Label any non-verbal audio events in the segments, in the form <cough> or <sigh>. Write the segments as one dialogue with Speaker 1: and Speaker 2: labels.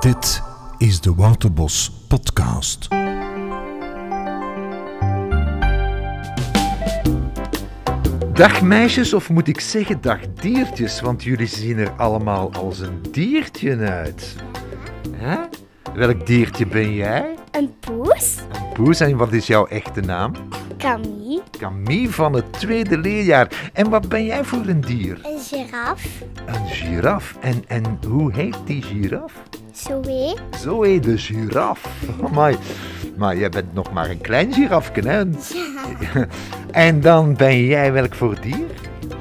Speaker 1: Dit is de Wouterbos Podcast.
Speaker 2: Dag meisjes, of moet ik zeggen dag diertjes, want jullie zien er allemaal als een diertje uit. Hè? Welk diertje ben jij?
Speaker 3: Een poes?
Speaker 2: Poes, en wat is jouw echte naam?
Speaker 3: Camille?
Speaker 2: Camille van het tweede leerjaar. En wat ben jij voor een dier?
Speaker 3: Een giraf?
Speaker 2: Een giraf. En, en hoe heet die giraf?
Speaker 3: Zoe?
Speaker 2: Zoé de giraf. Amai. Maar jij bent nog maar een klein girafje, hè? En dan ben jij welk voor dier?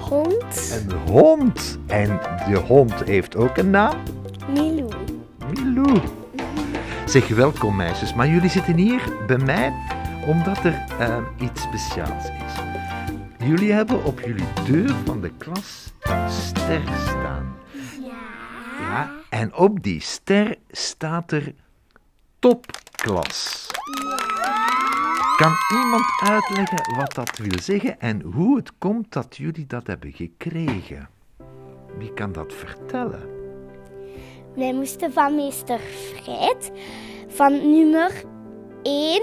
Speaker 3: Hond?
Speaker 2: Een hond. En de hond heeft ook een naam.
Speaker 3: Milou?
Speaker 2: Milou. Zeg welkom meisjes, maar jullie zitten hier bij mij omdat er eh, iets speciaals is. Jullie hebben op jullie deur van de klas een ster staan. Ja. en op die ster staat er topklas. Kan iemand uitleggen wat dat wil zeggen en hoe het komt dat jullie dat hebben gekregen? Wie kan dat vertellen?
Speaker 3: Wij moesten van meester Fred van nummer 1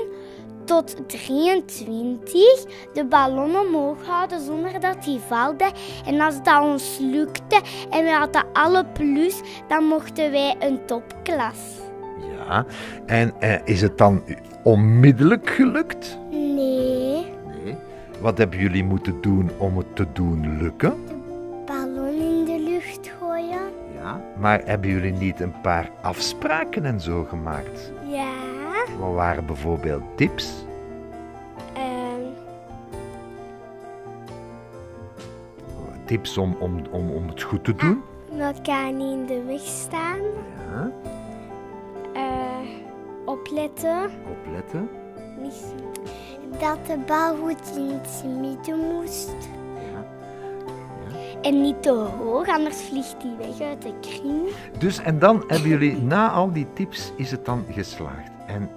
Speaker 3: tot 23 de ballon omhoog houden zonder dat hij valde. En als dat ons lukte en we hadden alle plus, dan mochten wij een topklas.
Speaker 2: Ja, en eh, is het dan onmiddellijk gelukt?
Speaker 3: Nee,
Speaker 2: Nee. Wat hebben jullie moeten doen om het te doen lukken?
Speaker 3: ballon in de lucht gooien.
Speaker 2: Ja. Maar hebben jullie niet een paar afspraken en zo gemaakt?
Speaker 3: Ja.
Speaker 2: Wat waren bijvoorbeeld tips?
Speaker 3: Ehm,
Speaker 2: Tips om, om, om, om het goed te doen?
Speaker 3: Ah, elkaar niet in de weg staan.
Speaker 2: Ja.
Speaker 3: Eh, opletten.
Speaker 2: Opletten.
Speaker 3: Dat de bal goed in het midden moest.
Speaker 2: Ja.
Speaker 3: En niet te hoog, anders vliegt hij weg uit de kring.
Speaker 2: Dus en dan hebben jullie na al die tips is het dan geslaagd. En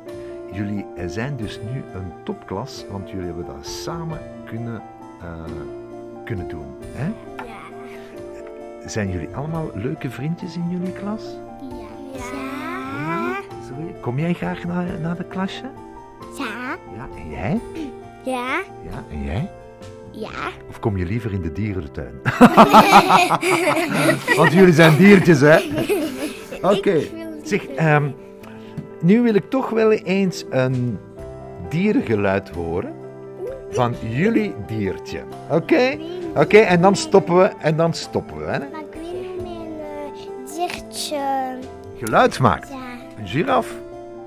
Speaker 2: jullie eh, zijn dus nu een topklas, want jullie hebben dat samen kunnen, eh, kunnen doen. Hè?
Speaker 3: Ja.
Speaker 2: Zijn jullie allemaal leuke vriendjes in jullie klas?
Speaker 3: Ja. Ja.
Speaker 2: Sorry, Kom jij graag naar, naar de klasje?
Speaker 3: Ja.
Speaker 2: Ja, en jij?
Speaker 3: Ja.
Speaker 2: Ja, en jij?
Speaker 3: Ja.
Speaker 2: Of kom je liever in de
Speaker 3: <laughs>
Speaker 2: dierentuin? Want jullie zijn diertjes, hè? Oké.
Speaker 3: wil
Speaker 2: Zeg, ehm, nu wil ik toch wel eens een dierengeluid horen van jullie diertje. Oké? Oké, en dan stoppen we, en dan stoppen we, hè?
Speaker 3: Maar ik wil mijn diertje.
Speaker 2: Geluid maakt.
Speaker 3: eh, Ja.
Speaker 2: Een giraf.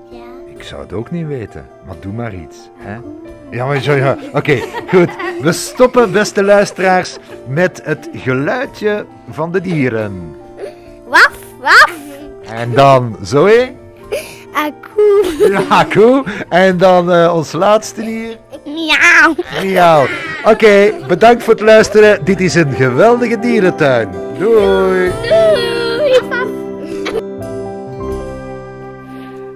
Speaker 3: Ja.
Speaker 2: Ik zou het ook niet weten, maar doe maar iets. Hè? Ja, maar zo, ja. Oké, goed. We stoppen, beste luisteraars, met het geluidje van de dieren.
Speaker 3: Waf, waf. <laughs>
Speaker 2: En dan Zoe,
Speaker 3: Akoe.
Speaker 2: ja, koe. En dan eh, ons laatste dier,
Speaker 3: Miauw.
Speaker 2: miauw. Oké, bedankt voor het luisteren. Dit is een geweldige dierentuin. Doei.
Speaker 3: Doei.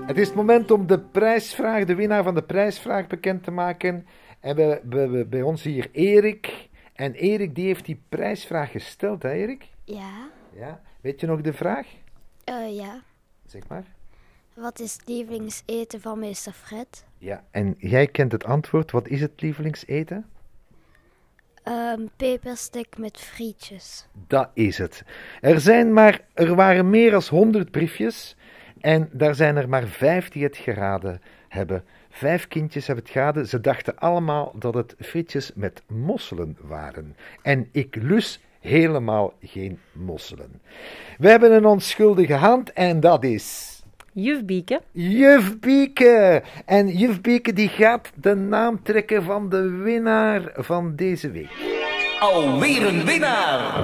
Speaker 2: Het is het moment om de prijsvraag, de winnaar van de prijsvraag bekend te maken. En we hebben bij ons hier Erik. En Erik die heeft die prijsvraag gesteld, hè Erik?
Speaker 3: Ja.
Speaker 2: Ja. Weet je nog de vraag?
Speaker 3: Eh, ja.
Speaker 2: Zeg maar.
Speaker 3: Wat is het lievelingseten van meester Fred?
Speaker 2: Ja, en jij kent het antwoord. Wat is het lievelingseten?
Speaker 3: Ehm peperstick met frietjes.
Speaker 2: Dat is het. Er zijn maar, er waren meer dan 100 briefjes. En daar zijn er maar vijf die het geraden hebben. Vijf kindjes hebben het geraden. Ze dachten allemaal dat het frietjes met mosselen waren. En ik lus helemaal geen mosselen. We hebben een onschuldige hand en dat is...
Speaker 4: Juf Bieke.
Speaker 2: Juf Bieke! En Juf Bieke die gaat de naam trekken van de winnaar van deze week.
Speaker 5: Alweer een winnaar!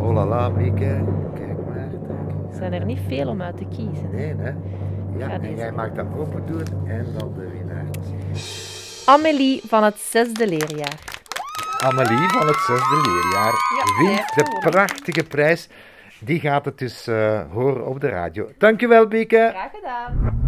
Speaker 2: Oh la la, Bieke. Kijk maar. dank.
Speaker 4: Er zijn er niet veel om uit te kiezen.
Speaker 2: Nee, hè? Ja,
Speaker 4: Ga
Speaker 2: en
Speaker 4: deze.
Speaker 2: jij maakt dat open doen en dan de winnaar.
Speaker 4: Amélie van het zesde leerjaar.
Speaker 2: Amelie van het zesde leerjaar
Speaker 4: Ja,
Speaker 2: wint
Speaker 4: ja.
Speaker 2: de prachtige prijs. Die gaat het dus eh, horen op de radio. Dankjewel, Bieke.
Speaker 4: Graag gedaan.